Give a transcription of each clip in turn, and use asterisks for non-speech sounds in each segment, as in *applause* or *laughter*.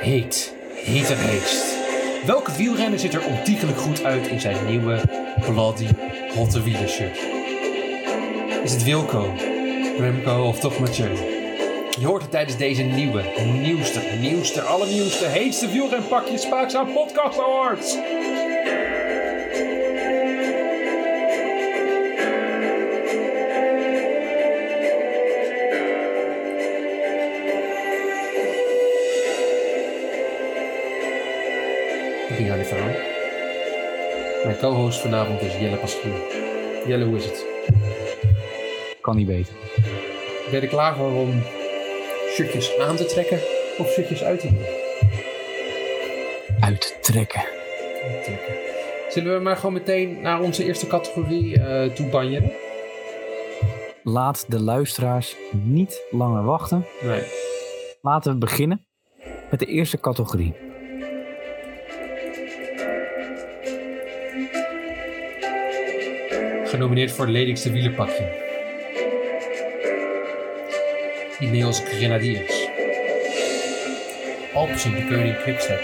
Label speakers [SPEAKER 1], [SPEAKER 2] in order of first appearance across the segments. [SPEAKER 1] Heet, heet race. Welke wielrenner ziet er ontiegelijk goed uit in zijn nieuwe Bloody Hotte Wieler shirt? Is het Wilco, Remco of toch Mathieu? Je hoort het tijdens deze nieuwe, nieuwste, nieuwste, allernieuwste, heetste wielrenpakje Spaaks aan Podcast Awards. Ik ging aan de verhaal. Mijn co-host vanavond is Jelle Pasquier. Jelle, hoe is het?
[SPEAKER 2] Kan niet beter.
[SPEAKER 1] Ben je er klaar voor om shirtjes aan te trekken of shirtjes uit te doen?
[SPEAKER 2] Uittrekken.
[SPEAKER 1] Trekken. Zullen we maar gewoon meteen naar onze eerste categorie eh toe banjeren?
[SPEAKER 2] Laat de luisteraars niet langer wachten.
[SPEAKER 1] Nee.
[SPEAKER 2] Laten we beginnen met de eerste categorie.
[SPEAKER 1] Genomineerd voor het lelijkste wielerpakje. Ineos Grenadiers. Alpecin de Koning Quickstep.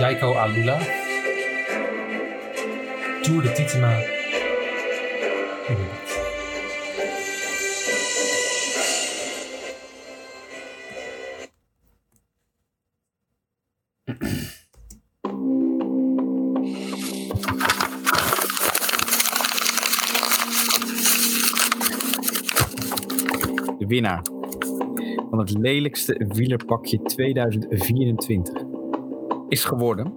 [SPEAKER 1] Jaiko Alula. Tour de Titema. Unibet.
[SPEAKER 2] De winnaar van het lelijkste wielerpakje 2024 is geworden.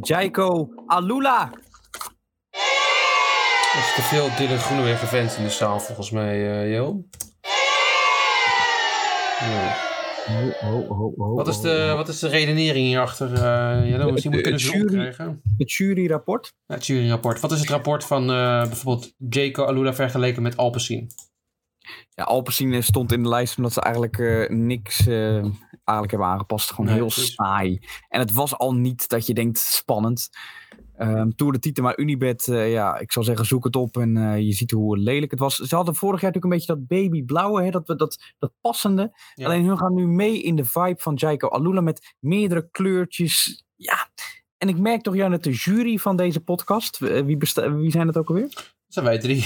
[SPEAKER 2] Jaiko Alula.
[SPEAKER 1] Er is te veel Dylan Groenewegen fans in de zaal volgens mij, eh Jo. Nee. Wat is, de, wat is de redenering hierachter? eh Jelle? misschien moeten
[SPEAKER 2] Het-
[SPEAKER 1] we
[SPEAKER 2] het
[SPEAKER 1] ze jury...
[SPEAKER 2] jury-
[SPEAKER 1] krijgen.
[SPEAKER 2] Het juryrapport.
[SPEAKER 1] Ja, Het juryrapport. Wat is het rapport van eh, bijvoorbeeld Jaco Alula vergeleken met Alpecin?
[SPEAKER 2] Ja, Alpecin stond in de lijst omdat ze eigenlijk eh, niks eh, eigenlijk hebben aangepast. Gewoon
[SPEAKER 1] Nee,
[SPEAKER 2] heel
[SPEAKER 1] precies.
[SPEAKER 2] saai. En het was al niet dat je denkt spannend. Ehm Tour de Tieten, maar Unibet, eh, ja, ik zal zeggen, zoek het op en eh, je ziet hoe lelijk het was. Ze hadden vorig jaar natuurlijk een beetje dat babyblauwe, hè, dat, we- dat, dat passende.
[SPEAKER 1] Ja.
[SPEAKER 2] Alleen hun gaan nu mee in de vibe van Jaiko Alula met meerdere kleurtjes. Ja, en ik merk toch, Jan, dat de jury van deze podcast, eh, wie, besta- wie zijn dat ook alweer?
[SPEAKER 1] Dat zijn wij drie.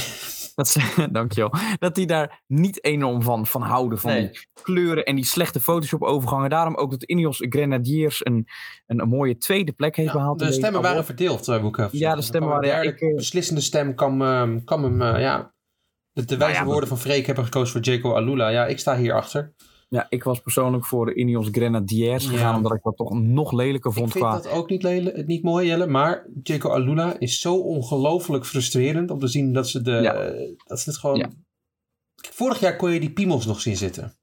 [SPEAKER 2] Dat ze, *laughs* dankjewel. Dat die daar niet enorm van, van houden. Van
[SPEAKER 1] *laughs* Nee.
[SPEAKER 2] die kleuren en die slechte Photoshop-overgangen. Daarom ook dat Ineos Grenadiers een, een, een mooie tweede plek heeft
[SPEAKER 1] Ja,
[SPEAKER 2] behaald. in
[SPEAKER 1] de
[SPEAKER 2] deze
[SPEAKER 1] stemmen
[SPEAKER 2] award.
[SPEAKER 1] waren verdeeld, eh, moet ik even
[SPEAKER 2] Ja,
[SPEAKER 1] zeggen.
[SPEAKER 2] de stemmen
[SPEAKER 1] Er kwam
[SPEAKER 2] waren- ja,
[SPEAKER 1] een derde
[SPEAKER 2] ik, eh,
[SPEAKER 1] beslissende stem kwam, eh, kwam hem, eh, ja... De, de wijze
[SPEAKER 2] Nou ja, dat-
[SPEAKER 1] woorden van Freek hebben gekozen voor Jaco Alula. Ja, ik sta hierachter.
[SPEAKER 2] Ja, ik was persoonlijk voor de Ineos Grenadiers
[SPEAKER 1] Ja.
[SPEAKER 2] gegaan. Omdat ik dat toch nog lelijker
[SPEAKER 1] Ik
[SPEAKER 2] vond
[SPEAKER 1] vind
[SPEAKER 2] qua...
[SPEAKER 1] dat ook niet, lele- niet mooi, Jelle. Maar Jaco Alula is zo ongelooflijk frustrerend om te zien dat ze, de,
[SPEAKER 2] Ja.
[SPEAKER 1] eh, dat ze het gewoon...
[SPEAKER 2] Ja.
[SPEAKER 1] Vorig jaar kon je die piemels nog zien zitten.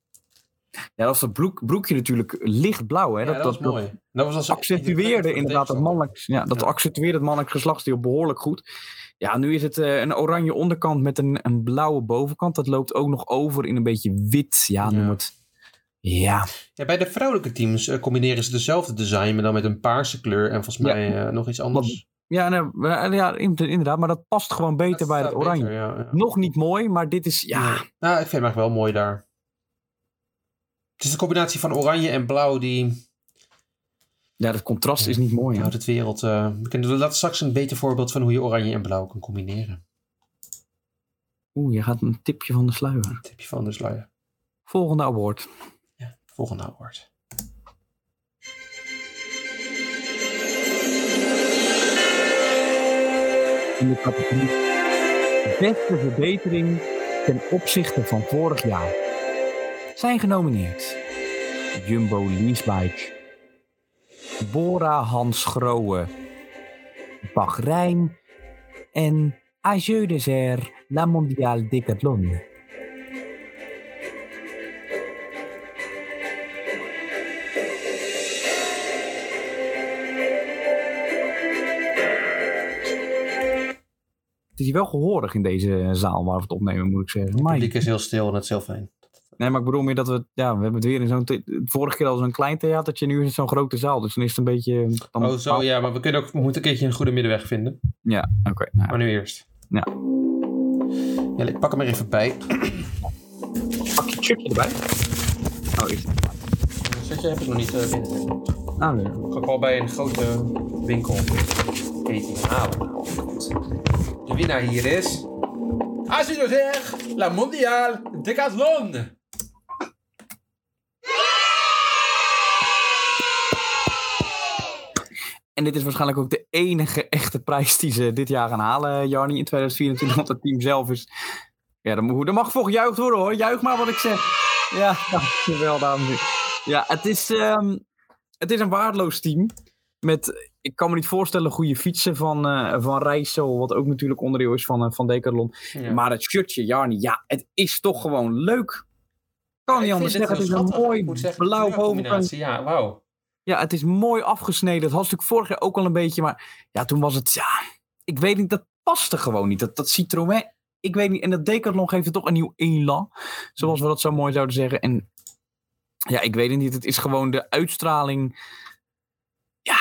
[SPEAKER 2] Ja, dat was dat broek, broekje natuurlijk lichtblauw. Hè?
[SPEAKER 1] Ja, dat, was mooi. Dat was als
[SPEAKER 2] accentueerde inderdaad dat mannelijk, ja, dat
[SPEAKER 1] Ja.
[SPEAKER 2] accentueerde het mannelijk geslachtsdeel behoorlijk goed. Ja, nu is het eh, een oranje onderkant met een, een blauwe bovenkant. Dat loopt ook nog over in een beetje wit. Ja, noem
[SPEAKER 1] Ja.
[SPEAKER 2] het. Ja,
[SPEAKER 1] Ja, bij de vrouwelijke teams eh, combineren ze dezelfde design, maar dan met een paarse kleur en volgens
[SPEAKER 2] Ja.
[SPEAKER 1] mij eh, nog iets anders.
[SPEAKER 2] ja, nee, we- eh, ja in- inderdaad. Maar dat past gewoon beter
[SPEAKER 1] Dat
[SPEAKER 2] bij
[SPEAKER 1] staat
[SPEAKER 2] het oranje.
[SPEAKER 1] beter, ja, ja.
[SPEAKER 2] Nog niet mooi, maar dit is ja.
[SPEAKER 1] Nou, ik vind hem eigenlijk wel mooi daar. Het is een combinatie van oranje en blauw die
[SPEAKER 2] Ja, dat contrast is niet mooi. hè.
[SPEAKER 1] houdt het wereld. eh, we kunnen dat is straks een beter voorbeeld van hoe je oranje en blauw kan combineren.
[SPEAKER 2] Oeh, je gaat een tipje van de sluier.
[SPEAKER 1] Een tipje van de sluier.
[SPEAKER 2] Volgende award.
[SPEAKER 1] Volgende award.
[SPEAKER 2] in de categorie Beste verbetering ten opzichte van vorig jaar. Zijn genomineerd Jumbo Leasebike, Bora Hans Grohe, Bahrein en Ajeu Désert La Mondiale Decathlon. Het is hier wel gehoorig in deze zaal waar we het opnemen, moet ik zeggen.
[SPEAKER 1] Het
[SPEAKER 2] Maar
[SPEAKER 1] publiek is heel stil en dat is heel fijn.
[SPEAKER 2] Nee, maar ik bedoel meer dat we... Ja, we hebben het weer in zo'n... the- Vorige keer al zo'n klein theatertje, nu is het zo'n grote zaal. Dus dan is het een beetje... Dan
[SPEAKER 1] Oh, zo ja, maar we, kunnen ook, we moeten een keertje een goede middenweg vinden.
[SPEAKER 2] Ja, oké. nou ja.
[SPEAKER 1] Maar nu eerst.
[SPEAKER 2] Ja.
[SPEAKER 1] Ja, ik pak hem er even bij.
[SPEAKER 2] pak je chipje erbij. Oh, is
[SPEAKER 1] Een setje heb ik nog niet eh, binnen.
[SPEAKER 2] Ah, nee.
[SPEAKER 1] Ga ik wel bij een grote winkel keten halen. De winnaar hier is... Als je zo zegt, La Mondiale Decathlon.
[SPEAKER 2] En dit is waarschijnlijk ook de enige echte prijs die ze dit jaar gaan halen, Jarny, in 2024. Want het team zelf is. Ja, dat mag, dat mag voor gejuicht worden hoor. Juich maar wat ik zeg. Ja, *laughs* dankjewel, dames en heren. Ja, het is, ehm, het is een waardeloos team. Met, ik kan me niet voorstellen, goede fietsen van, eh van Rijssel. Wat ook natuurlijk onderdeel is van, eh, van Decathlon.
[SPEAKER 1] Ja.
[SPEAKER 2] Maar het shirtje, Jarny, ja, het is toch gewoon leuk. Kan
[SPEAKER 1] Ik
[SPEAKER 2] niet
[SPEAKER 1] vind
[SPEAKER 2] anders
[SPEAKER 1] dit
[SPEAKER 2] zeggen. Het
[SPEAKER 1] heel
[SPEAKER 2] is een
[SPEAKER 1] schattig. Ik
[SPEAKER 2] mooi
[SPEAKER 1] moet zeggen, de
[SPEAKER 2] blauw bovenkant.
[SPEAKER 1] kleurcombinatie, Ja, wauw.
[SPEAKER 2] Ja, het is mooi afgesneden. Het was natuurlijk vorig jaar ook al een beetje, maar ja, toen was het, ja, ik weet niet, dat paste gewoon niet. Dat, dat Citroën, ik weet niet, en dat Decathlon geeft het toch een nieuw elan, zoals we dat zo mooi zouden zeggen. En ja, ik weet het niet, het is gewoon de uitstraling. Ja,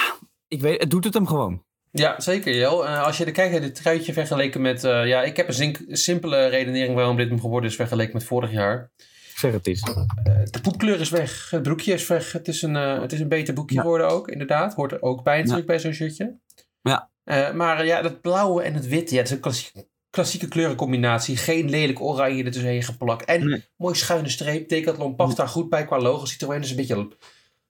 [SPEAKER 2] ik weet, het doet het hem gewoon.
[SPEAKER 1] Ja, zeker Jel. Eh, als je er kijkt naar dit truitje vergeleken met... eh, ja, ik heb een zink- simpele redenering waarom dit hem geworden is vergeleken met vorig jaar.
[SPEAKER 2] Zeg het eens.
[SPEAKER 1] Eh, de poepkleur is weg. Het broekje is weg. Het is een, eh, het is een beter boekje
[SPEAKER 2] Ja.
[SPEAKER 1] geworden ook, inderdaad. Hoort er ook bij natuurlijk bij zo'n shirtje.
[SPEAKER 2] Ja.
[SPEAKER 1] Eh, maar eh, ja, dat blauwe en het wit, ja, het is een klassie- klassieke kleurencombinatie. Geen lelijk oranje ertussenheen geplakt. En
[SPEAKER 2] Nee.
[SPEAKER 1] mooi schuine streep. Decathlon past daar goed bij qua logo. Citroën is Dus een beetje...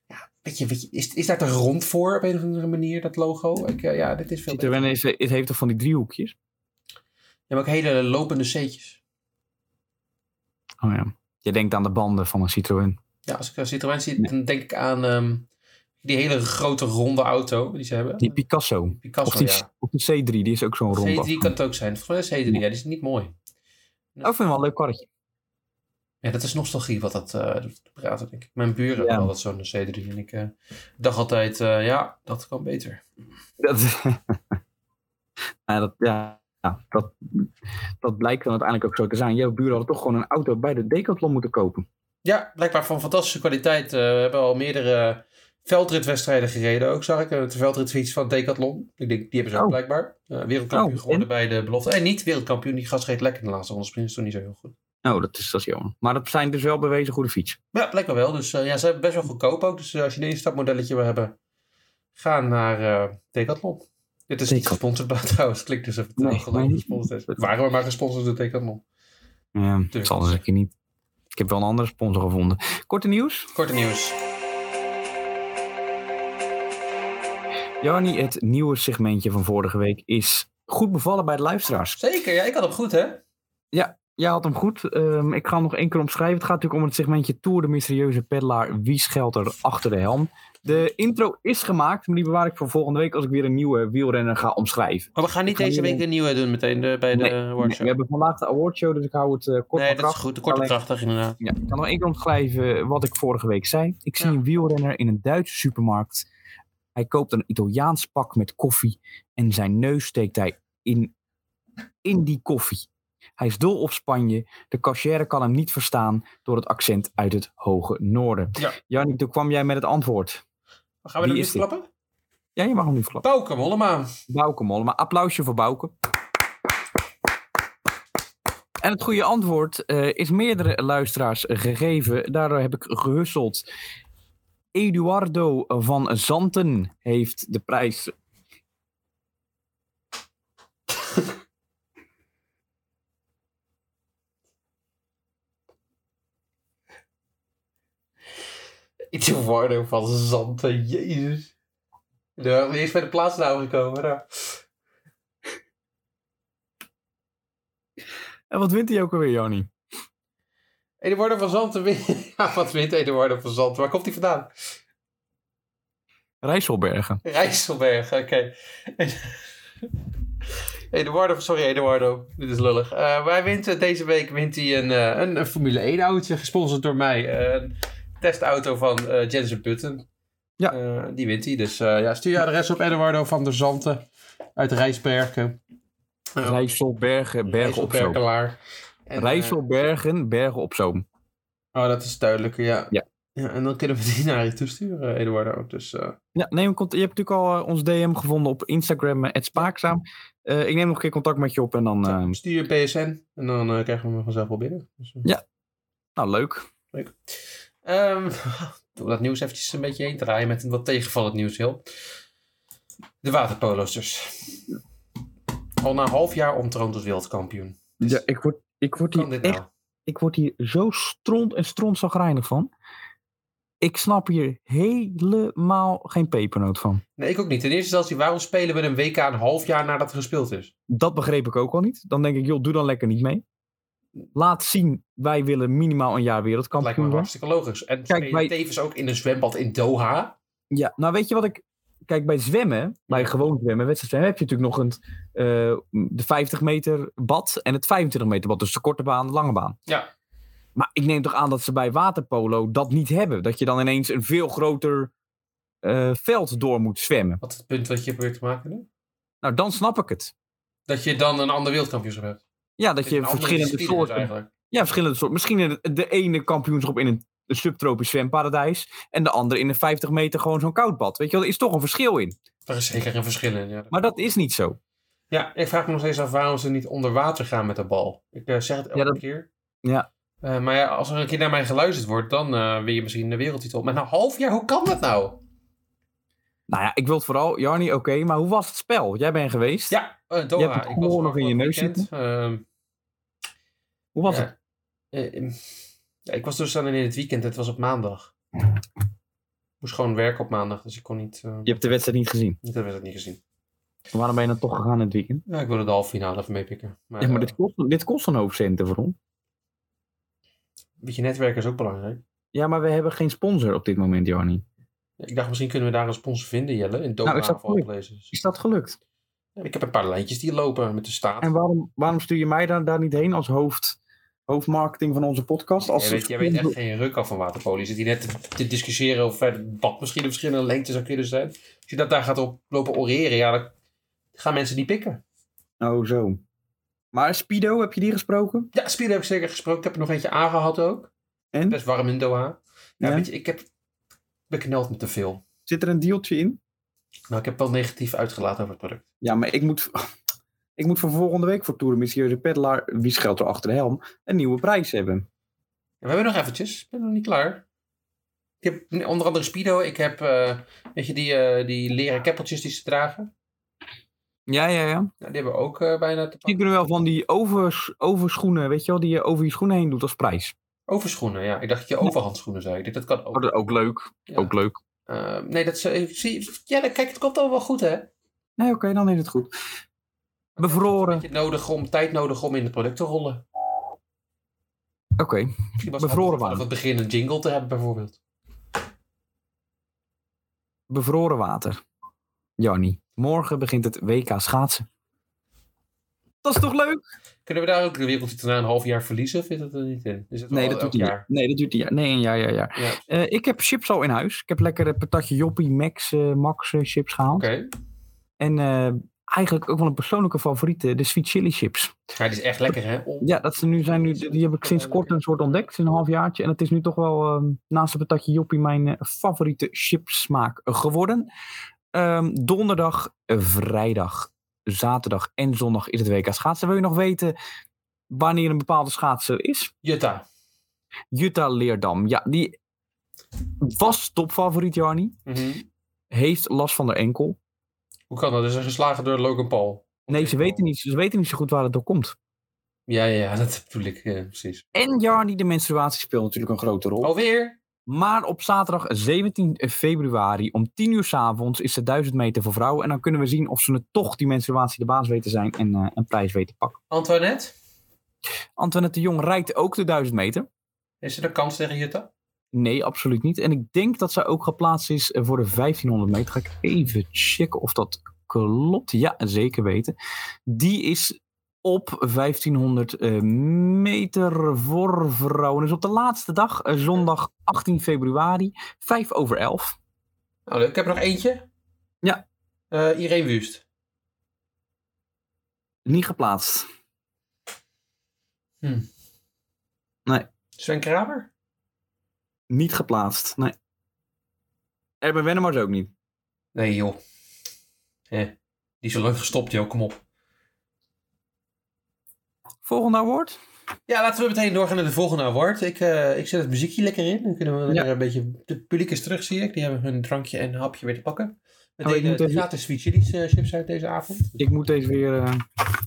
[SPEAKER 1] Ja, beetje, beetje is, is daar te rond voor op een of andere manier, dat logo? Ik, eh, ja, dit is veel beter.
[SPEAKER 2] Citroën is, het heeft toch van die driehoekjes?
[SPEAKER 1] Ja, maar ook hele lopende C'tjes.
[SPEAKER 2] Oh ja. Je denkt aan de banden van een Citroën.
[SPEAKER 1] Ja, als ik een Citroën zie, dan denk ik aan ehm, die hele grote ronde auto die ze hebben.
[SPEAKER 2] Die Picasso.
[SPEAKER 1] Picasso,
[SPEAKER 2] Of die,
[SPEAKER 1] ja.
[SPEAKER 2] of de C3, die is ook zo'n rond.
[SPEAKER 1] C3 kan het ook zijn. Volgens mij is C3, ja, die is niet mooi.
[SPEAKER 2] Oh, ik vind hem wel een leuk karretje.
[SPEAKER 1] Ja, dat is nostalgie wat dat eh, doet praten, denk ik. Mijn buren
[SPEAKER 2] Ja.
[SPEAKER 1] hadden altijd zo'n C3 en ik eh, dacht altijd, eh, ja, dat kan beter.
[SPEAKER 2] Dat, *laughs* ja, dat, ja, ja, dat, dat blijkt dan uiteindelijk ook zo te zijn. Jouw buren hadden toch gewoon een auto bij de Decathlon moeten kopen.
[SPEAKER 1] Ja, blijkbaar van fantastische kwaliteit. Eh, we hebben al meerdere veldritwedstrijden gereden ook, zag ik. Eh, De veldritfiets van Decathlon. Ik denk, die hebben ze ook
[SPEAKER 2] Oh.
[SPEAKER 1] blijkbaar. Eh, wereldkampioen
[SPEAKER 2] Oh,
[SPEAKER 1] geworden
[SPEAKER 2] en?
[SPEAKER 1] bij de belofte. En niet wereldkampioen, die gast reed lekker in de laatste ronde. Sprint is toen niet zo heel goed.
[SPEAKER 2] Nou, dat is, dat is jammer. Maar dat zijn dus wel bewezen goede fietsen.
[SPEAKER 1] Ja, blijkbaar wel. Dus eh, ja, ze hebben best wel goedkoop ook. Dus eh, als je een instapmodelletje wil hebben, ga naar eh Decathlon. Dit is niet
[SPEAKER 2] Decathlon.
[SPEAKER 1] gesponsord *laughs* bij- trouwens. Klinkt dus even
[SPEAKER 2] Nee,
[SPEAKER 1] gelijk
[SPEAKER 2] nee.
[SPEAKER 1] gesponsord is. Waren we maar gesponsord door Decathlon.
[SPEAKER 2] Ja, dat zal dus een keer niet. Ik heb wel een andere sponsor gevonden. Korte nieuws.
[SPEAKER 1] Korte nieuws.
[SPEAKER 2] Jarny, het nieuwe segmentje van vorige week is goed bevallen bij de luisteraars.
[SPEAKER 1] Zeker, ja, ik had hem goed, hè?
[SPEAKER 2] Jij had hem goed. Ehm, ik ga hem nog één keer omschrijven. Het gaat natuurlijk om het segmentje Tour de Mysterieuze Peddelaar. Wie schuilt er achter de helm? De intro is gemaakt, maar die bewaar ik voor volgende week als ik weer een nieuwe wielrenner ga omschrijven.
[SPEAKER 1] Maar we gaan niet
[SPEAKER 2] Ik ga
[SPEAKER 1] deze
[SPEAKER 2] nu-
[SPEAKER 1] week een nieuwe doen meteen eh, bij de
[SPEAKER 2] Nee,
[SPEAKER 1] workshop.
[SPEAKER 2] We hebben vandaag de awardshow, dus ik hou het eh, kort
[SPEAKER 1] Nee,
[SPEAKER 2] en
[SPEAKER 1] dat is
[SPEAKER 2] krachtig.
[SPEAKER 1] goed. De korte
[SPEAKER 2] Alleen-
[SPEAKER 1] krachtig, inderdaad.
[SPEAKER 2] Ja, ik kan nog één keer omschrijven wat ik vorige week zei. Ik zie
[SPEAKER 1] Ja.
[SPEAKER 2] een wielrenner in een Duitse supermarkt. Hij koopt een Italiaans pak met koffie en zijn neus steekt hij in, in die koffie. Hij is dol op Spanje. De cashier kan hem niet verstaan door het accent uit het hoge noorden.
[SPEAKER 1] Ja.
[SPEAKER 2] Jannik, toen kwam jij met het antwoord.
[SPEAKER 1] Gaan we
[SPEAKER 2] Wie
[SPEAKER 1] er nu
[SPEAKER 2] is dit?
[SPEAKER 1] klappen?
[SPEAKER 2] Ja, je mag hem nu klappen.
[SPEAKER 1] Pauke Mollema.
[SPEAKER 2] Bouke Mollema. Applausje voor Bouke. En het goede antwoord eh, is meerdere luisteraars gegeven. Daardoor heb ik gehusteld. Eduardo van Zanten heeft de prijs.
[SPEAKER 1] Iets in woorden van zanten, jezus. Ja, die is bij de plaatsnaam gekomen. nou.
[SPEAKER 2] En wat wint hij ook alweer, Joni?
[SPEAKER 1] Eduardo van Zanten wint. *laughs* Ja, wat wint Eduardo van Zanten? Waar komt hij vandaan?
[SPEAKER 2] Rijsselbergen.
[SPEAKER 1] Rijsselberg, oké. Eduardo, sorry Eduardo, dit is lullig. Eh wij wint, eh, deze week wint hij een, eh, een, een Formule 1 autootje, gesponsord door mij. Eh, een testauto van eh Jensen Button.
[SPEAKER 2] Ja.
[SPEAKER 1] Eh, die wint hij, dus eh, ja, stuur je adres op Eduardo van der Zanten uit Rijsbergen.
[SPEAKER 2] Rijsselbergen, bergen op zoom.
[SPEAKER 1] Rijsselbergelaar. En, eh,
[SPEAKER 2] Rijsselbergen, bergen op zoom.
[SPEAKER 1] oh, dat is duidelijker, ja.
[SPEAKER 2] Ja.
[SPEAKER 1] Ja, en dan kunnen we die naar je toesturen, Eduardo. Dus, eh,
[SPEAKER 2] Ja, neem cont- je hebt natuurlijk al eh, ons DM gevonden op Instagram, eh, @spaakzaam. Eh, ik neem nog een keer contact met je op en dan. eh,
[SPEAKER 1] stuur je PSN en dan eh, krijgen we hem vanzelf wel binnen. Dus, eh,
[SPEAKER 2] nou, leuk.
[SPEAKER 1] Ehm *laughs* door dat nieuws eventjes een beetje heen draaien met wat tegenvallend nieuws, heel. De waterpolo's dus. Al na een half jaar ontroond als wereldkampioen. Dus
[SPEAKER 2] Ja, ik word, ik word
[SPEAKER 1] Kan
[SPEAKER 2] hier
[SPEAKER 1] dit
[SPEAKER 2] echt
[SPEAKER 1] nou?
[SPEAKER 2] ik word hier zo stront en strontzagrijnig van. Ik snap hier helemaal geen pepernoot van.
[SPEAKER 1] Nee, ik ook niet. Ten eerste instantie, waarom spelen we een WK een half jaar nadat het gespeeld is?
[SPEAKER 2] Dat begreep ik ook al niet. Dan denk ik, joh, doe dan lekker niet mee. Laat zien, wij willen minimaal een
[SPEAKER 1] Dat
[SPEAKER 2] jaar
[SPEAKER 1] lijkt me
[SPEAKER 2] wereldkampioen worden.
[SPEAKER 1] hartstikke logisch. En
[SPEAKER 2] Kijk,
[SPEAKER 1] spelen
[SPEAKER 2] wij-
[SPEAKER 1] tevens ook in een zwembad in Doha.
[SPEAKER 2] Ja, nou weet je wat ik... Kijk, bij zwemmen, bij gewoon zwemmen, wedstrijdzwemmen, heb je natuurlijk nog een, eh, de 50 meter bad en het 25 meter bad. Dus de korte baan, de lange baan.
[SPEAKER 1] Ja.
[SPEAKER 2] Maar ik neem toch aan dat ze bij waterpolo dat niet hebben. Dat je dan ineens een veel groter eh, veld door moet zwemmen.
[SPEAKER 1] Wat is het punt wat je probeert te maken nu?
[SPEAKER 2] Nou, dan snap ik het.
[SPEAKER 1] Dat je dan een ander wereldkampioenschap hebt.
[SPEAKER 2] Ja, dat je
[SPEAKER 1] Een andere
[SPEAKER 2] verschillende
[SPEAKER 1] discipline
[SPEAKER 2] soorten.
[SPEAKER 1] eigenlijk.
[SPEAKER 2] Ja, verschillende soorten. Misschien in de- de ene kampioenschap in een een subtropisch zwemparadijs. En de andere in een 50 meter gewoon zo'n koudbad. Weet je wel, er is toch een verschil in.
[SPEAKER 1] Daar is zeker een verschil in. Ja.
[SPEAKER 2] Maar dat is niet zo.
[SPEAKER 1] Ja, ik vraag me nog steeds af waarom ze niet onder water gaan met de bal. Ik eh, zeg het elke
[SPEAKER 2] Ja, dat-
[SPEAKER 1] keer.
[SPEAKER 2] ja.
[SPEAKER 1] Eh, maar ja, als er een keer naar mij geluisterd wordt, dan eh wil je misschien de wereldtitel. Maar na een half jaar, hoe kan dat nou?
[SPEAKER 2] Nou ja, ik wil het vooral, Jarni, oké, maar hoe was het spel? Jij bent geweest.
[SPEAKER 1] Ja, eh
[SPEAKER 2] Je
[SPEAKER 1] Doha.
[SPEAKER 2] hebt het
[SPEAKER 1] ik was
[SPEAKER 2] gewoon nog in je
[SPEAKER 1] afgelopen
[SPEAKER 2] neus
[SPEAKER 1] weekend. Ehm,
[SPEAKER 2] Hoe was
[SPEAKER 1] ja.
[SPEAKER 2] het?
[SPEAKER 1] Eh, ehm, ja, ik was dus dan in het weekend. Het was op maandag. Ik moest gewoon werken op maandag, dus ik kon niet... eh
[SPEAKER 2] Je hebt de wedstrijd niet gezien.
[SPEAKER 1] Ik heb het niet gezien.
[SPEAKER 2] Waarom ben je dan toch gegaan in het weekend?
[SPEAKER 1] Ja, ik wilde de halve finale even meepikken. Maar,
[SPEAKER 2] Ja, maar
[SPEAKER 1] eh,
[SPEAKER 2] dit kost, dit kost een hoop centen voor ons.
[SPEAKER 1] een beetje netwerken is ook belangrijk.
[SPEAKER 2] Ja, maar we hebben geen sponsor op dit moment, Jarni.
[SPEAKER 1] Ik dacht, misschien kunnen we daar een sponsor vinden, Jelle. In Doha
[SPEAKER 2] Nou, ik zag
[SPEAKER 1] of alle
[SPEAKER 2] het
[SPEAKER 1] places.
[SPEAKER 2] Is dat gelukt?
[SPEAKER 1] Ja, Ik heb een paar lijntjes die lopen met de staat.
[SPEAKER 2] En waarom, waarom stuur je mij daar, daar niet heen als hoofd, hoofdmarketing van onze podcast? Als
[SPEAKER 1] jij, weet, jij weet echt geen ruk af van waterpolo. Je zit hier net te, te discussiëren over wat misschien de verschillende lengtes zou kunnen zijn. Als je dat daar gaat op lopen oreren, ja, dan gaan mensen niet pikken.
[SPEAKER 2] Oh, zo. Maar Spido, heb je die gesproken?
[SPEAKER 1] Ja, Spier heb ik zeker gesproken. Ik heb er nog eentje aangehad ook.
[SPEAKER 2] En?
[SPEAKER 1] Best warm in Doha. Ja,
[SPEAKER 2] Ja.
[SPEAKER 1] weet je, ik heb bekneld me te veel.
[SPEAKER 2] Zit er een deeltje in?
[SPEAKER 1] Nou, ik heb wel negatief uitgelaten over het product.
[SPEAKER 2] Ja, maar ik moet, *laughs* ik moet voor volgende week voor Tour de Mysterieuze Peddelaar, wie schuilt er achter de helm, een nieuwe prijs hebben.
[SPEAKER 1] Ja, we hebben nog eventjes. Ik ben nog niet klaar. Ik heb onder andere Speedo. Ik heb, eh, weet je, die, eh, die leren keppeltjes die ze dragen.
[SPEAKER 2] Ja, ja, ja.
[SPEAKER 1] Nou, die hebben we ook eh, bijna te
[SPEAKER 2] Die
[SPEAKER 1] pakken.
[SPEAKER 2] kunnen wel van die overs, overschoenen, weet je wel, die je over je schoenen heen doet als prijs.
[SPEAKER 1] Overschoenen, ja. Ik dacht dat je overhandschoenen zei. Ik dacht, Dat kan ook.
[SPEAKER 2] Oh, dat ook leuk.
[SPEAKER 1] Ja.
[SPEAKER 2] leuk.
[SPEAKER 1] Eh, nee, dat ze, ik zie, ja, dan- kijk, het komt allemaal wel goed, hè?
[SPEAKER 2] Nee, oké, dan is het goed. Bevroren.
[SPEAKER 1] Een beetje nodig om, tijd nodig om in het product te rollen.
[SPEAKER 2] Oké.
[SPEAKER 1] Misschien was
[SPEAKER 2] Bevroren
[SPEAKER 1] Van het begin een jingle te hebben, bijvoorbeeld.
[SPEAKER 2] Bevroren water. Jannie, morgen begint het WK schaatsen. Dat is toch leuk?
[SPEAKER 1] Oh, Kunnen we daar ook de wereldtitel na een half jaar verliezen? Vindt het er niet in? Is het
[SPEAKER 2] Nee,
[SPEAKER 1] wel
[SPEAKER 2] dat
[SPEAKER 1] elk
[SPEAKER 2] doet hij. niet.
[SPEAKER 1] jaar?
[SPEAKER 2] Nee, dat doet hij. niet. Nee, ja, ja, ja.
[SPEAKER 1] Ja, oké.
[SPEAKER 2] Eh, ik heb chips al in huis. Ik heb lekker een patatje Joppie, Max, eh, Max eh, chips gehaald. En eh, eigenlijk ook wel een persoonlijke favoriet, eh, de sweet chili chips.
[SPEAKER 1] Ja, die is echt lekker, hè? On-
[SPEAKER 2] Ja, dat ze nu zijn nu, die heb ik sinds kort een soort ontdekt, sinds een half jaartje. En het is nu toch wel ehm, naast het patatje Joppie mijn eh, favoriete chipsmaak geworden. Ehm, donderdag, eh, vrijdag, zaterdag en zondag is het WK schaatsen. Wil je nog weten wanneer een bepaalde schaatser is?
[SPEAKER 1] Jutta.
[SPEAKER 2] Jutta Leerdam. Ja, die was topfavoriet, Jarni.
[SPEAKER 1] Mhm.
[SPEAKER 2] Heeft last van haar enkel.
[SPEAKER 1] Hoe kan dat? Is er geslagen door Logan Paul?
[SPEAKER 2] Nee, ze weten, niet, ze weten niet zo goed waar het door komt.
[SPEAKER 1] Ja, ja, *laughs* ja, dat bedoel ik, eh, precies.
[SPEAKER 2] En Jarni, de menstruatie speelt natuurlijk een grote rol.
[SPEAKER 1] Alweer?
[SPEAKER 2] Maar op zaterdag 17 februari om 10 uur 's avonds is de 1000 meter voor vrouwen. En dan kunnen we zien of ze het toch die menstruatie de baas weten zijn en eh, een prijs weten pakken.
[SPEAKER 1] Antoinette?
[SPEAKER 2] Antoinette de Jong rijdt ook de 1000 meter.
[SPEAKER 1] Is er een kans tegen Jutta?
[SPEAKER 2] Nee, absoluut niet. En ik denk dat zij ook geplaatst is eh, voor de 1500 meter. Ga ik even checken of dat klopt. Ja, zeker weten. Die is op 1500 eh, meter voor vrouwen. Dus op de laatste dag, eh, zondag 18 februari, 5 over 11.
[SPEAKER 1] Nou, leuk. Ik heb er nog eentje.
[SPEAKER 2] Ja.
[SPEAKER 1] Eh, Irene Wust.
[SPEAKER 2] Niet geplaatst.
[SPEAKER 1] Sven Kramer?
[SPEAKER 2] Niet geplaatst. Nee. Erben Wennemars ook niet.
[SPEAKER 1] Nee, joh. Hè. Die is al leuk gestopt, joh. Kom op.
[SPEAKER 2] Volgende award.
[SPEAKER 1] Ja, laten we meteen doorgaan naar de volgende award. Ik, eh, ik zet het muziekje lekker in. Dan kunnen we lekker een beetje... Het publiek is terug, zie ik. Die hebben hun drankje en hapje weer te pakken. We
[SPEAKER 2] Oh, ik
[SPEAKER 1] deden
[SPEAKER 2] moet even-
[SPEAKER 1] gratis sweet chili's eh, chips uit deze avond.
[SPEAKER 2] Ik moet deze weer eh,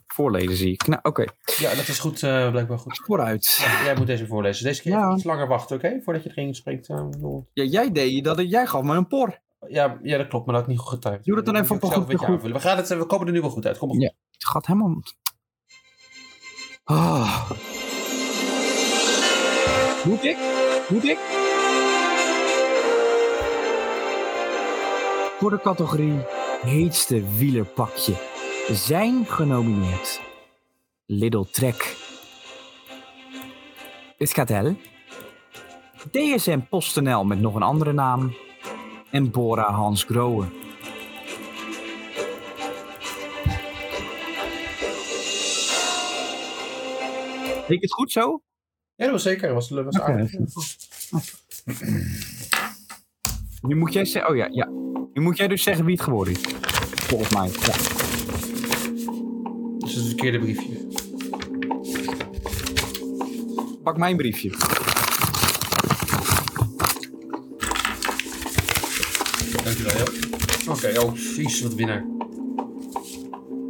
[SPEAKER 2] voorlezen, zie ik. Nou, oké.
[SPEAKER 1] Ja, dat is goed. eh, blijkbaar goed.
[SPEAKER 2] Vooruit.
[SPEAKER 1] Ja, jij moet deze voorlezen. Deze keer
[SPEAKER 2] Ja.
[SPEAKER 1] even iets langer wachten, oké? Voordat je het ging spreekt. eh, ik bedoel-
[SPEAKER 2] Ja, jij deed dat. Jij gaf me een por.
[SPEAKER 1] ja, ja, dat klopt, maar dat had ik niet goed getimed.
[SPEAKER 2] Doe dat dan
[SPEAKER 1] Ik
[SPEAKER 2] even
[SPEAKER 1] moet
[SPEAKER 2] op een
[SPEAKER 1] zelf
[SPEAKER 2] goed-
[SPEAKER 1] beetje
[SPEAKER 2] goed-
[SPEAKER 1] aanvullen. We, gaan het, eh, we komen er nu wel goed uit. Kom op.
[SPEAKER 2] Ja. Het gaat helemaal... Ah. Moet ik? Moet ik? Voor de categorie heetste wielerpakje zijn genomineerd Little Trek, Escatel, DSM PostNL met nog een andere naam en Bora Hans Groen. Vind ik het goed zo?
[SPEAKER 1] Ja, dat was zeker. Dat was, dat was
[SPEAKER 2] Oké.
[SPEAKER 1] aardig.
[SPEAKER 2] Nu moet jij zeggen. Oh ja, ja. Nu moet jij dus zeggen wie het geworden is. Volgens mij. Ja.
[SPEAKER 1] Dus het is het verkeerde briefje.
[SPEAKER 2] Pak mijn briefje.
[SPEAKER 1] Dankjewel, Joop. Oké, oh, vies, wat winnaar.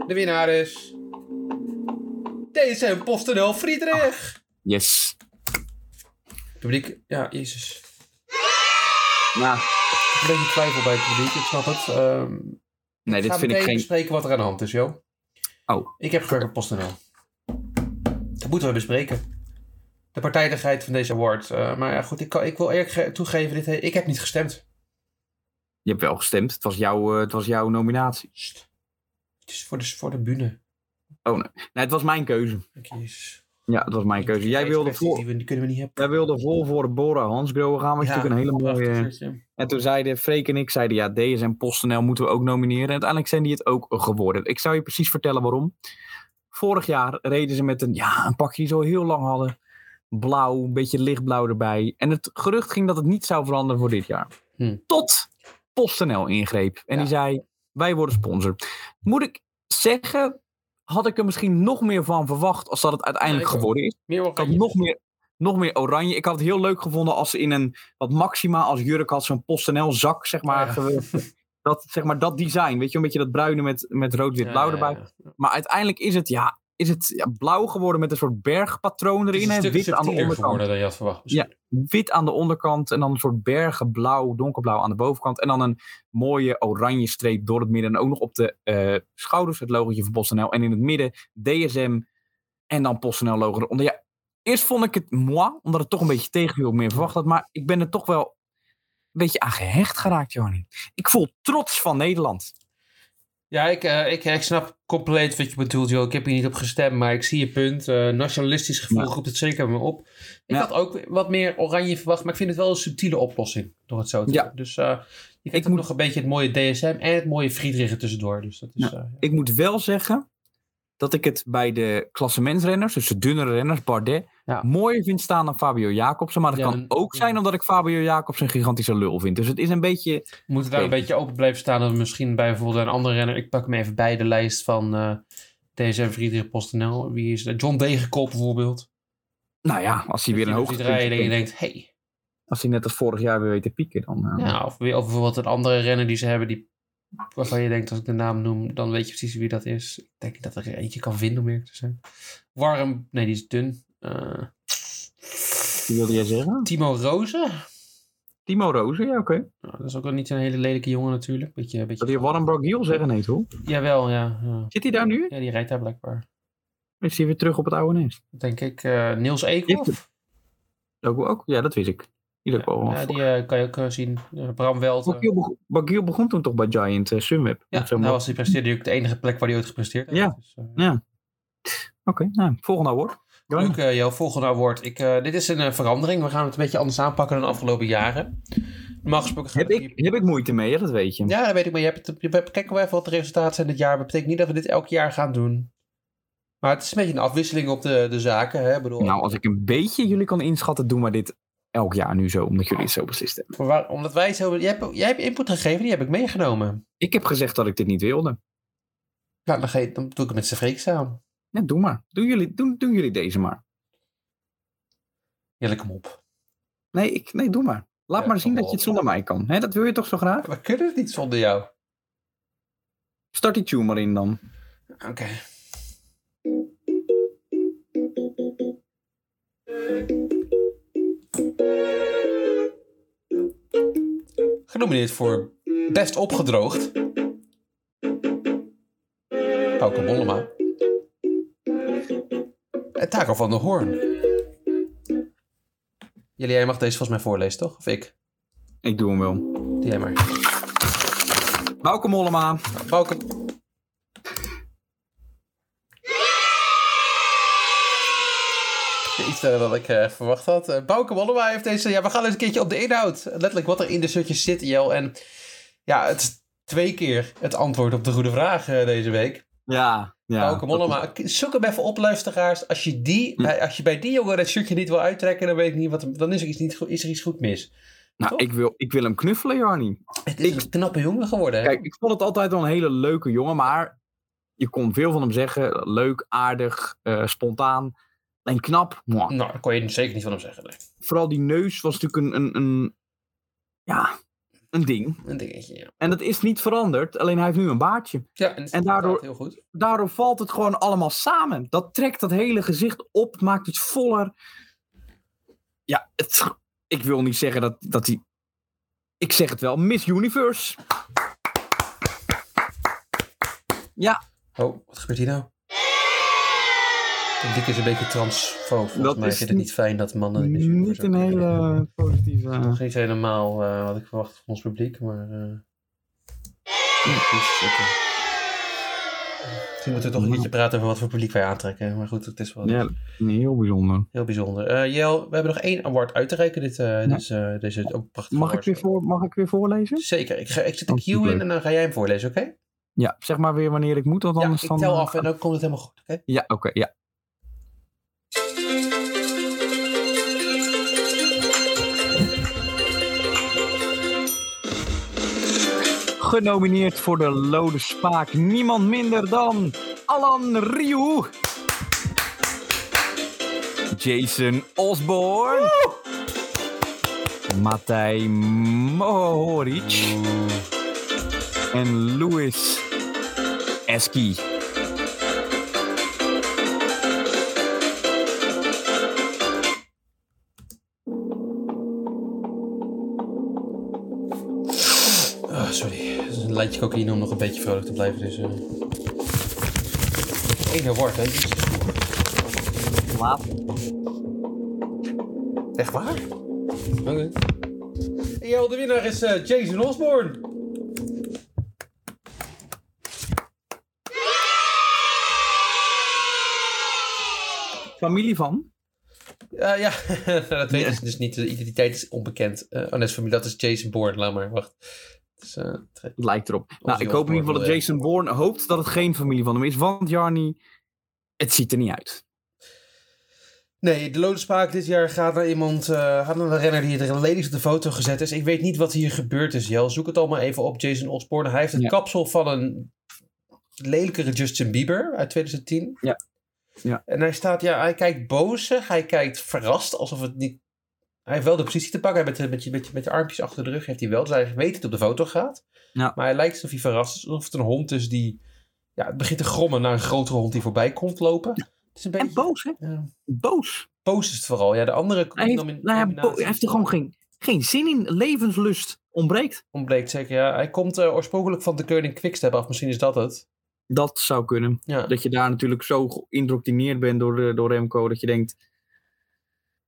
[SPEAKER 1] De winnaar is... DSM PostNL Friedrich.
[SPEAKER 2] Yes.
[SPEAKER 1] Ah, Publiek, ja, jezus.
[SPEAKER 2] Nou,
[SPEAKER 1] Een beetje twijfel bij het publiek, ik snap het. Ehm
[SPEAKER 2] nee, dit
[SPEAKER 1] ga
[SPEAKER 2] vind ik
[SPEAKER 1] meteen
[SPEAKER 2] geen.
[SPEAKER 1] bespreken wat er aan de hand is, joh.
[SPEAKER 2] Oh,
[SPEAKER 1] Ik heb gewerkt op PostNL. Dat moeten we bespreken. De partijdigheid van deze award. Eh, maar ja, goed, ik, kan, ik wil eerlijk ge- toegeven, dit, he- ik heb niet gestemd.
[SPEAKER 2] je hebt wel gestemd. Het was, jouw, eh, het was jouw nominatie.
[SPEAKER 1] Sst. Het is voor de, voor de bühne.
[SPEAKER 2] Nee, het was mijn keuze.
[SPEAKER 1] Dank Jezus.
[SPEAKER 2] Ja, het was mijn keuze. Jij wilde
[SPEAKER 1] Kwestie
[SPEAKER 2] vol,
[SPEAKER 1] Die, we, die kunnen we niet hebben.
[SPEAKER 2] jij wilde vol voor Bora Hansgrohe gaan. Wat
[SPEAKER 1] Ja,
[SPEAKER 2] natuurlijk een hele
[SPEAKER 1] prachtig
[SPEAKER 2] mooie.
[SPEAKER 1] shirtje.
[SPEAKER 2] En toen zeiden Freek en ik zeiden ja, DSM PostNL moeten we ook nomineren. En uiteindelijk zijn die het ook geworden. Ik zou je precies vertellen waarom. Vorig jaar reden ze met een, ja, een pakje die ze al heel lang hadden. Blauw, een beetje lichtblauw erbij. En het gerucht ging dat het niet zou veranderen voor dit jaar.
[SPEAKER 1] Hmm.
[SPEAKER 2] Tot PostNL ingreep. En
[SPEAKER 1] Ja.
[SPEAKER 2] die zei, wij worden sponsor. Moet ik zeggen, had ik er misschien nog meer van verwacht als dat het uiteindelijk
[SPEAKER 1] Ja, ik ook.
[SPEAKER 2] geworden is.
[SPEAKER 1] Meer
[SPEAKER 2] Ik had nog meer, nog meer oranje. Ik had het heel leuk gevonden als ze in een wat maxima als jurk had zo'n PostNL zak, zeg maar,
[SPEAKER 1] Oh, Ja. *laughs*
[SPEAKER 2] gewerkt. dat, zeg maar. Dat design, weet je, een beetje dat bruine met, met
[SPEAKER 1] eh,
[SPEAKER 2] rood-wit-blauw erbij. Maar uiteindelijk is het, ja, is het ja, blauw geworden met een soort bergpatroon
[SPEAKER 1] Het is
[SPEAKER 2] erin.
[SPEAKER 1] een
[SPEAKER 2] En
[SPEAKER 1] stuk
[SPEAKER 2] wit aan de
[SPEAKER 1] subtieler
[SPEAKER 2] onderkant.
[SPEAKER 1] geworden dan je had verwacht.
[SPEAKER 2] Ja. Wit aan de onderkant en dan een soort bergenblauw, donkerblauw aan de bovenkant. En dan een mooie oranje streep door het midden. En ook nog op de eh, schouders het logotje van PostNL. En in het midden DSM en dan PostNL logo eronder. Ja, eerst vond ik het moi, omdat het toch een beetje tegenviel, wat ik meer verwacht had. Maar ik ben er toch wel een beetje aan gehecht geraakt, Johnny. Ik voel trots van Nederland.
[SPEAKER 1] Ja, ik, eh, ik, ik snap compleet wat je bedoelt, joh. Ik heb hier niet op gestemd, maar ik zie je punt. Eh, nationalistisch gevoel
[SPEAKER 2] Ja.
[SPEAKER 1] roept het zeker bij me op. Ik
[SPEAKER 2] Ja.
[SPEAKER 1] had ook wat meer oranje verwacht, maar ik vind het wel een subtiele oplossing door het zo te
[SPEAKER 2] Ja.
[SPEAKER 1] doen. Dus eh, je krijgt ook
[SPEAKER 2] moet-
[SPEAKER 1] nog een beetje het mooie DSM en het mooie Friedrich er tussendoor. Dus dat is, eh,
[SPEAKER 2] Ik moet wel zeggen dat ik het bij de klassementsrenners, dus de dunnere renners, Bardet,
[SPEAKER 1] Ja.
[SPEAKER 2] mooier vind staan dan Fabio Jacobsen. Maar dat
[SPEAKER 1] Ja,
[SPEAKER 2] kan
[SPEAKER 1] dan-
[SPEAKER 2] ook zijn
[SPEAKER 1] ja.
[SPEAKER 2] omdat ik Fabio Jacobsen een gigantische lul vind. Dus het is een beetje...
[SPEAKER 1] we moeten daar een
[SPEAKER 2] Oké.
[SPEAKER 1] beetje open blijven staan. Dat we misschien bij bijvoorbeeld een andere renner... Ik pak hem even bij de lijst van eh, DSM, Friedrich, PostNL. Wie is er? John Degenkop bijvoorbeeld.
[SPEAKER 2] Nou ja, als hij weer een
[SPEAKER 1] Dat je hem ziet rijden
[SPEAKER 2] hoogtepuntje
[SPEAKER 1] en je
[SPEAKER 2] vindt.
[SPEAKER 1] denkt, hey,
[SPEAKER 2] Als hij net als vorig jaar weer weet te pieken, dan... eh,
[SPEAKER 1] Ja, of, weer- of bijvoorbeeld een andere renner die ze hebben, die, waarvan je denkt als ik de naam noem, dan weet je precies wie dat is. Ik denk niet dat er eentje kan vinden om eerlijk te zijn. Warm, nee, die is dun. Eh,
[SPEAKER 2] Wie wilde jij zeggen?
[SPEAKER 1] Timo Rozen.
[SPEAKER 2] Timo Rozen, ja oké.
[SPEAKER 1] Nou, dat is ook wel niet een hele lelijke jongen natuurlijk. Beetje, beetje...
[SPEAKER 2] Wil je Warren Barguil zeggen? Nee toch?
[SPEAKER 1] Jawel, ja, ja.
[SPEAKER 2] Zit hij daar nu?
[SPEAKER 1] Ja, die rijdt daar blijkbaar.
[SPEAKER 2] Is hij weer terug op het oude nest?
[SPEAKER 1] Dat Denk ik. eh, Niels Eekhoff.
[SPEAKER 2] Ook, ook, ja, dat wist ik. Die ook al.
[SPEAKER 1] Ja, die eh, kan je ook eh, zien. Eh, Bram Welten.
[SPEAKER 2] Barguil beg- Barguil begon toen toch bij Giant eh, Sunweb?
[SPEAKER 1] Ja,
[SPEAKER 2] Of zo,
[SPEAKER 1] daar was hij presteerde ook de enige plek waar hij ooit gepresteerd heeft.
[SPEAKER 2] Ja.
[SPEAKER 1] Dus, eh,
[SPEAKER 2] Oké, nou, volgende woord.
[SPEAKER 1] Leuk, eh, jouw volgende award. Ik, eh, dit is een eh, verandering. We gaan het een beetje anders aanpakken dan de afgelopen jaren. Normaal gesproken gaat
[SPEAKER 2] Heb
[SPEAKER 1] het-
[SPEAKER 2] ik, heb ik moeite mee, ja, dat weet je.
[SPEAKER 1] Ja, dat weet ik, maar je hebt het, je hebt- kijken we even wat de resultaten zijn dit jaar. Dat betekent niet dat we dit elk jaar gaan doen. Maar het is een beetje een afwisseling op de, de zaken. Hè? Ik Bedoel,
[SPEAKER 2] Nou, als ik een beetje jullie kan inschatten, doen maar dit elk jaar nu zo, omdat jullie het zo beslist hebben.
[SPEAKER 1] Maar waar- omdat wij zo... Jij hebt, jij hebt input gegeven, die heb ik meegenomen.
[SPEAKER 2] Ik heb gezegd dat ik dit niet wilde.
[SPEAKER 1] Nou, dan, ga je- dan doe ik het met z'n vreek samen.
[SPEAKER 2] Ja, doe maar. Doen jullie, doen, doen jullie deze maar.
[SPEAKER 1] Ja, lekker op.
[SPEAKER 2] Nee, ik, nee doe maar. Laat
[SPEAKER 1] Ja,
[SPEAKER 2] maar zien
[SPEAKER 1] kom
[SPEAKER 2] dat je
[SPEAKER 1] op.
[SPEAKER 2] het zonder mij kan. Hè, dat wil je toch zo graag?
[SPEAKER 1] We kunnen het niet zonder jou.
[SPEAKER 2] Start die tune maar in dan.
[SPEAKER 1] Oké. Genomineerd voor Best Opgedroogd. Pauke Bollema. En Taco van der Hoorn. Jullie, jij mag deze volgens mij voorlezen, toch? Of ik?
[SPEAKER 2] Ik doe hem wel.
[SPEAKER 1] Doe jij maar.
[SPEAKER 2] Welkom allemaal.
[SPEAKER 1] Pauke... Iets verder dan ik eh, verwacht had. Eh, Bouke Mollema heeft deze... Ja, we gaan eens een keertje op de inhoud. Letterlijk wat er in de shirtjes zit, Jel. En ja, het is twee keer het antwoord op de goede vraag eh, deze week.
[SPEAKER 2] Ja. ja
[SPEAKER 1] Bouke Mollema, k- zoek hem even op, luisteraars. Als je, die,
[SPEAKER 2] Hm.
[SPEAKER 1] bij, als je bij die jongen dat shirtje niet wil uittrekken, dan weet ik niet wat... er- Dan is er iets, niet, goed- is er iets goed mis.
[SPEAKER 2] Nou,
[SPEAKER 1] Toch?
[SPEAKER 2] ik wil, ik wil hem knuffelen, Jarnie.
[SPEAKER 1] Het is een knappe jongen geworden. hè?
[SPEAKER 2] Kijk, ik vond het altijd wel een hele leuke jongen, maar je kon veel van hem zeggen. Leuk, aardig, eh, spontaan. En knap. Mwah.
[SPEAKER 1] Nou, dat kon je zeker niet van hem zeggen. nee.
[SPEAKER 2] Vooral die neus was natuurlijk een, een, een, ja, een ding.
[SPEAKER 1] Een dingetje, ja.
[SPEAKER 2] En dat is niet veranderd, alleen hij heeft nu een baardje.
[SPEAKER 1] Ja, en, het is
[SPEAKER 2] En daardoor-
[SPEAKER 1] heel goed.
[SPEAKER 2] Daardoor valt het gewoon allemaal samen. Dat trekt dat hele gezicht op, het maakt het voller. Ja, het, ik wil niet zeggen dat, dat hij... Ik zeg het wel, Miss Universe.
[SPEAKER 1] Oh, wat gebeurt hier nou? Dik is een beetje transfoob. Volgens
[SPEAKER 2] Dat
[SPEAKER 1] mij
[SPEAKER 2] is
[SPEAKER 1] vind ik het
[SPEAKER 2] niet-
[SPEAKER 1] niet fijn dat mannen... Miss Universe
[SPEAKER 2] Niet
[SPEAKER 1] ook
[SPEAKER 2] een hele positieve...
[SPEAKER 1] Nog niet helemaal eh, wat ik verwacht van ons publiek, maar... eh, Misschien moeten we toch een keertje praten over wat voor publiek wij aantrekken. Maar goed, het is wel
[SPEAKER 2] Ja, heel bijzonder.
[SPEAKER 1] heel bijzonder. Eh, Jel, we hebben nog één award uit te reiken. Dit, eh dus, eh, deze ook prachtige
[SPEAKER 2] Mag ik,
[SPEAKER 1] awards.
[SPEAKER 2] weer voor, mag ik weer voorlezen?
[SPEAKER 1] Zeker. Ik, ga, ik zet de
[SPEAKER 2] Oh,
[SPEAKER 1] cue in
[SPEAKER 2] leuk.
[SPEAKER 1] en dan ga jij hem voorlezen, oké?
[SPEAKER 2] Ja, zeg maar weer wanneer ik moet, want
[SPEAKER 1] Ja,
[SPEAKER 2] anders
[SPEAKER 1] ik
[SPEAKER 2] dan...
[SPEAKER 1] tel af en dan komt het helemaal goed, oké?
[SPEAKER 2] Ja, oké, ja. Genomineerd voor de Lode Spaak niemand minder dan Alan Ryu. Jason Osborne. Matthij Mohoric. En Louis Eski.
[SPEAKER 1] Ah, sorry. Het is een lijntje cocaïne om nog een beetje vrolijk te blijven. Dus, eh Eén award, hè? Dus-
[SPEAKER 2] Laat.
[SPEAKER 1] Echt waar? Oké. En jou, de winnaar is eh, Jason Osborne.
[SPEAKER 2] Familie van?
[SPEAKER 1] Eh, ja, *laughs* dat weten
[SPEAKER 2] Ja.
[SPEAKER 1] ze dus niet. De identiteit is onbekend. Eh oh, net familie, dat is Jason Bourne. Laat maar, wacht. Het is, eh, tre-
[SPEAKER 2] Lijkt erop. Nou,
[SPEAKER 1] die
[SPEAKER 2] ik hoop in
[SPEAKER 1] Osborne,
[SPEAKER 2] ieder geval dat
[SPEAKER 1] ja.
[SPEAKER 2] Jason Bourne hoopt dat het geen familie van hem is. Want Jarny, het ziet er niet uit.
[SPEAKER 1] Nee, de Lodenspaak dit jaar gaat naar iemand, eh, gaat naar de renner die het lelijk op de foto gezet is. Ik weet niet wat hier gebeurd is, Jel. Zoek het allemaal even op, Jason Osborne. Hij heeft het
[SPEAKER 2] Ja.
[SPEAKER 1] kapsel van een lelijkere Justin Bieber uit 2010.
[SPEAKER 2] Ja. Ja.
[SPEAKER 1] En hij staat, ja, hij kijkt bozig, hij kijkt verrast, alsof het niet... Hij heeft wel de positie te pakken, hij met, de- met, je- met, je- met de armpjes achter de rug heeft hij wel. Dus hij weet dat het op de foto gaat.
[SPEAKER 2] Ja.
[SPEAKER 1] Maar hij lijkt alsof hij verrast is, alsof het een hond is die... Ja, het begint te grommen naar een grotere hond die voorbij komt lopen. Het is een beetje...
[SPEAKER 2] En boos, hè?
[SPEAKER 1] ja
[SPEAKER 2] Boos.
[SPEAKER 1] post is het vooral. Ja, de andere
[SPEAKER 2] Hij heeft,
[SPEAKER 1] nomi-
[SPEAKER 2] nou ja, bo-
[SPEAKER 1] nominaties
[SPEAKER 2] hij heeft er gewoon geen, geen zin in. Levenslust ontbreekt.
[SPEAKER 1] ontbreekt zeker. Ja, hij komt eh, oorspronkelijk van de Keuning Quickstep af. Misschien is dat het.
[SPEAKER 2] Dat zou kunnen.
[SPEAKER 1] Ja.
[SPEAKER 2] Dat je daar natuurlijk zo geïndoctrineerd bent door, eh, door Remco dat je denkt...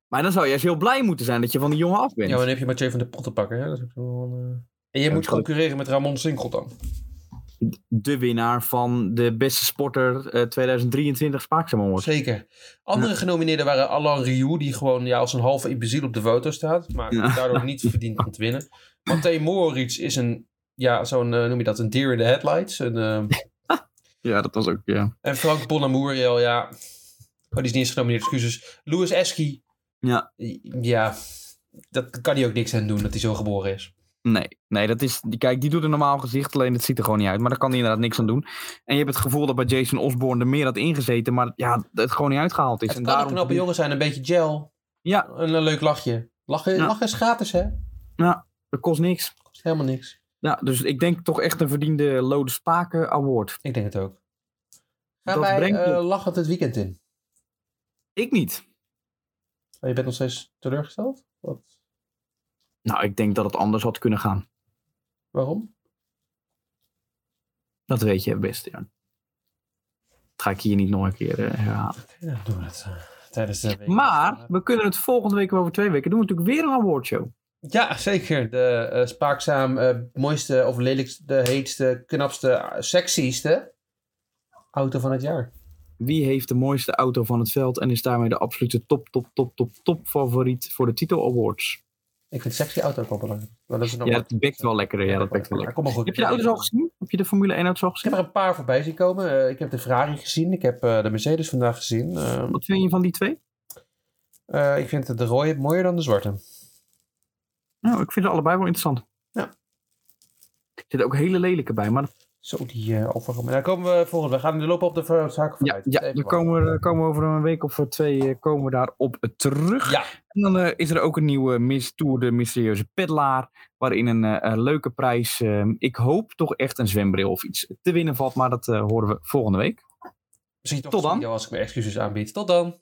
[SPEAKER 2] Maar dan zou je juist heel blij moeten zijn dat je van die jongen af bent.
[SPEAKER 1] ja, maar dan heb je Mathieu van de Pot te pakken. Hè? Dat is ook wel, eh, En jij
[SPEAKER 2] Ja,
[SPEAKER 1] moet
[SPEAKER 2] dat kan ik.
[SPEAKER 1] concurreren met Ramon Sinkel dan.
[SPEAKER 2] De winnaar van de beste sporter eh, 2023 Spaakzaam Award.
[SPEAKER 1] Zeker. Andere genomineerden waren Alain Rioux, die gewoon ja, als een halve imbeziel op de foto staat. Maar
[SPEAKER 2] Ja.
[SPEAKER 1] daardoor niet verdient om te winnen. Matthij Moritz is een, ja, zo'n, eh, noem je dat, een deer in the headlights. Een, eh,
[SPEAKER 2] Ja, dat was ook, ja.
[SPEAKER 1] En Frank Bonamuriel, ja. Oh, die is niet eens genomineerd, excuses. Louis Eski.
[SPEAKER 2] Ja.
[SPEAKER 1] Ja, dat kan hij ook niks aan doen dat hij zo geboren is.
[SPEAKER 2] Nee, nee, dat is. die- Kijk, die doet een normaal gezicht, alleen het ziet er gewoon niet uit. Maar daar kan hij inderdaad niks aan doen. En je hebt het gevoel dat bij Jason Osborne er meer had ingezeten, maar ja, het gewoon niet uitgehaald is.
[SPEAKER 1] Het
[SPEAKER 2] en
[SPEAKER 1] kan een knappe jongen zijn, een beetje gel.
[SPEAKER 2] Ja.
[SPEAKER 1] Een, eh, leuk lachje. Lachen,
[SPEAKER 2] Ja.
[SPEAKER 1] lachen is gratis, hè?
[SPEAKER 2] Dat kost niks.
[SPEAKER 1] Kost helemaal niks.
[SPEAKER 2] Ja, dus ik denk toch echt een verdiende Lode Spaken Award.
[SPEAKER 1] Ik denk het ook. Gaan
[SPEAKER 2] Dat
[SPEAKER 1] wij
[SPEAKER 2] brengt me-
[SPEAKER 1] eh lachend het weekend in?
[SPEAKER 2] Ik niet.
[SPEAKER 1] Oh, je bent nog steeds teleurgesteld? Wat?
[SPEAKER 2] Nou, ik denk dat het anders had kunnen gaan.
[SPEAKER 1] Waarom?
[SPEAKER 2] Dat weet je best, ja. Dat ga ik hier niet nog een keer eh, herhalen.
[SPEAKER 1] Ja, doen we het eh, tijdens de week.
[SPEAKER 2] Maar we kunnen het volgende week of over twee weken doen. We natuurlijk weer een awardshow.
[SPEAKER 1] Ja, zeker. De eh, spaakzaam eh, mooiste of lelijkste, de heetste, knapste, eh, sexieste auto van het jaar.
[SPEAKER 2] Wie heeft de mooiste auto van het veld en is daarmee de absolute top, top, top, top, top favoriet voor de titel awards?
[SPEAKER 1] Ik vind sexy auto ook wel belangrijk. Maar dat is nog
[SPEAKER 2] Ja,
[SPEAKER 1] maar-
[SPEAKER 2] dat bekt wel lekker. Ja, dat bekt wel
[SPEAKER 1] Ja,
[SPEAKER 2] lekker.
[SPEAKER 1] Kom maar goed. Nou,
[SPEAKER 2] Heb je de auto's al gezien? Heb je de Formule 1 auto's al
[SPEAKER 1] Ik heb
[SPEAKER 2] gezien?
[SPEAKER 1] er een paar voorbij zien komen. Eh, ik heb de Ferrari gezien. Ik heb eh, de Mercedes vandaag gezien. Eh,
[SPEAKER 2] Wat vind je van die twee?
[SPEAKER 1] eh, ik vind de rode mooier dan de zwarte.
[SPEAKER 2] Nou, ik vind ze allebei wel interessant.
[SPEAKER 1] Ja.
[SPEAKER 2] Er zitten ook hele lelijke bij, maar
[SPEAKER 1] Zo, die eh Alfa Romeo. Daar komen we volgende. We gaan nu lopen op de ver- zaken
[SPEAKER 2] Ja,
[SPEAKER 1] vooruit.
[SPEAKER 2] ja
[SPEAKER 1] Even
[SPEAKER 2] dan
[SPEAKER 1] wachten.
[SPEAKER 2] komen we, komen we over een week of twee eh, komen we daarop terug.
[SPEAKER 1] Ja.
[SPEAKER 2] En dan eh, is er ook een nieuwe Miss Tour, de mysterieuze peddelaar. Waarin een eh, een leuke prijs, eh, ik hoop toch echt een zwembril of iets te winnen valt. Maar dat eh, horen we volgende week.
[SPEAKER 1] Misschien toch
[SPEAKER 2] Tot
[SPEAKER 1] een
[SPEAKER 2] dan.
[SPEAKER 1] video als ik mijn excuses aanbied. Tot dan.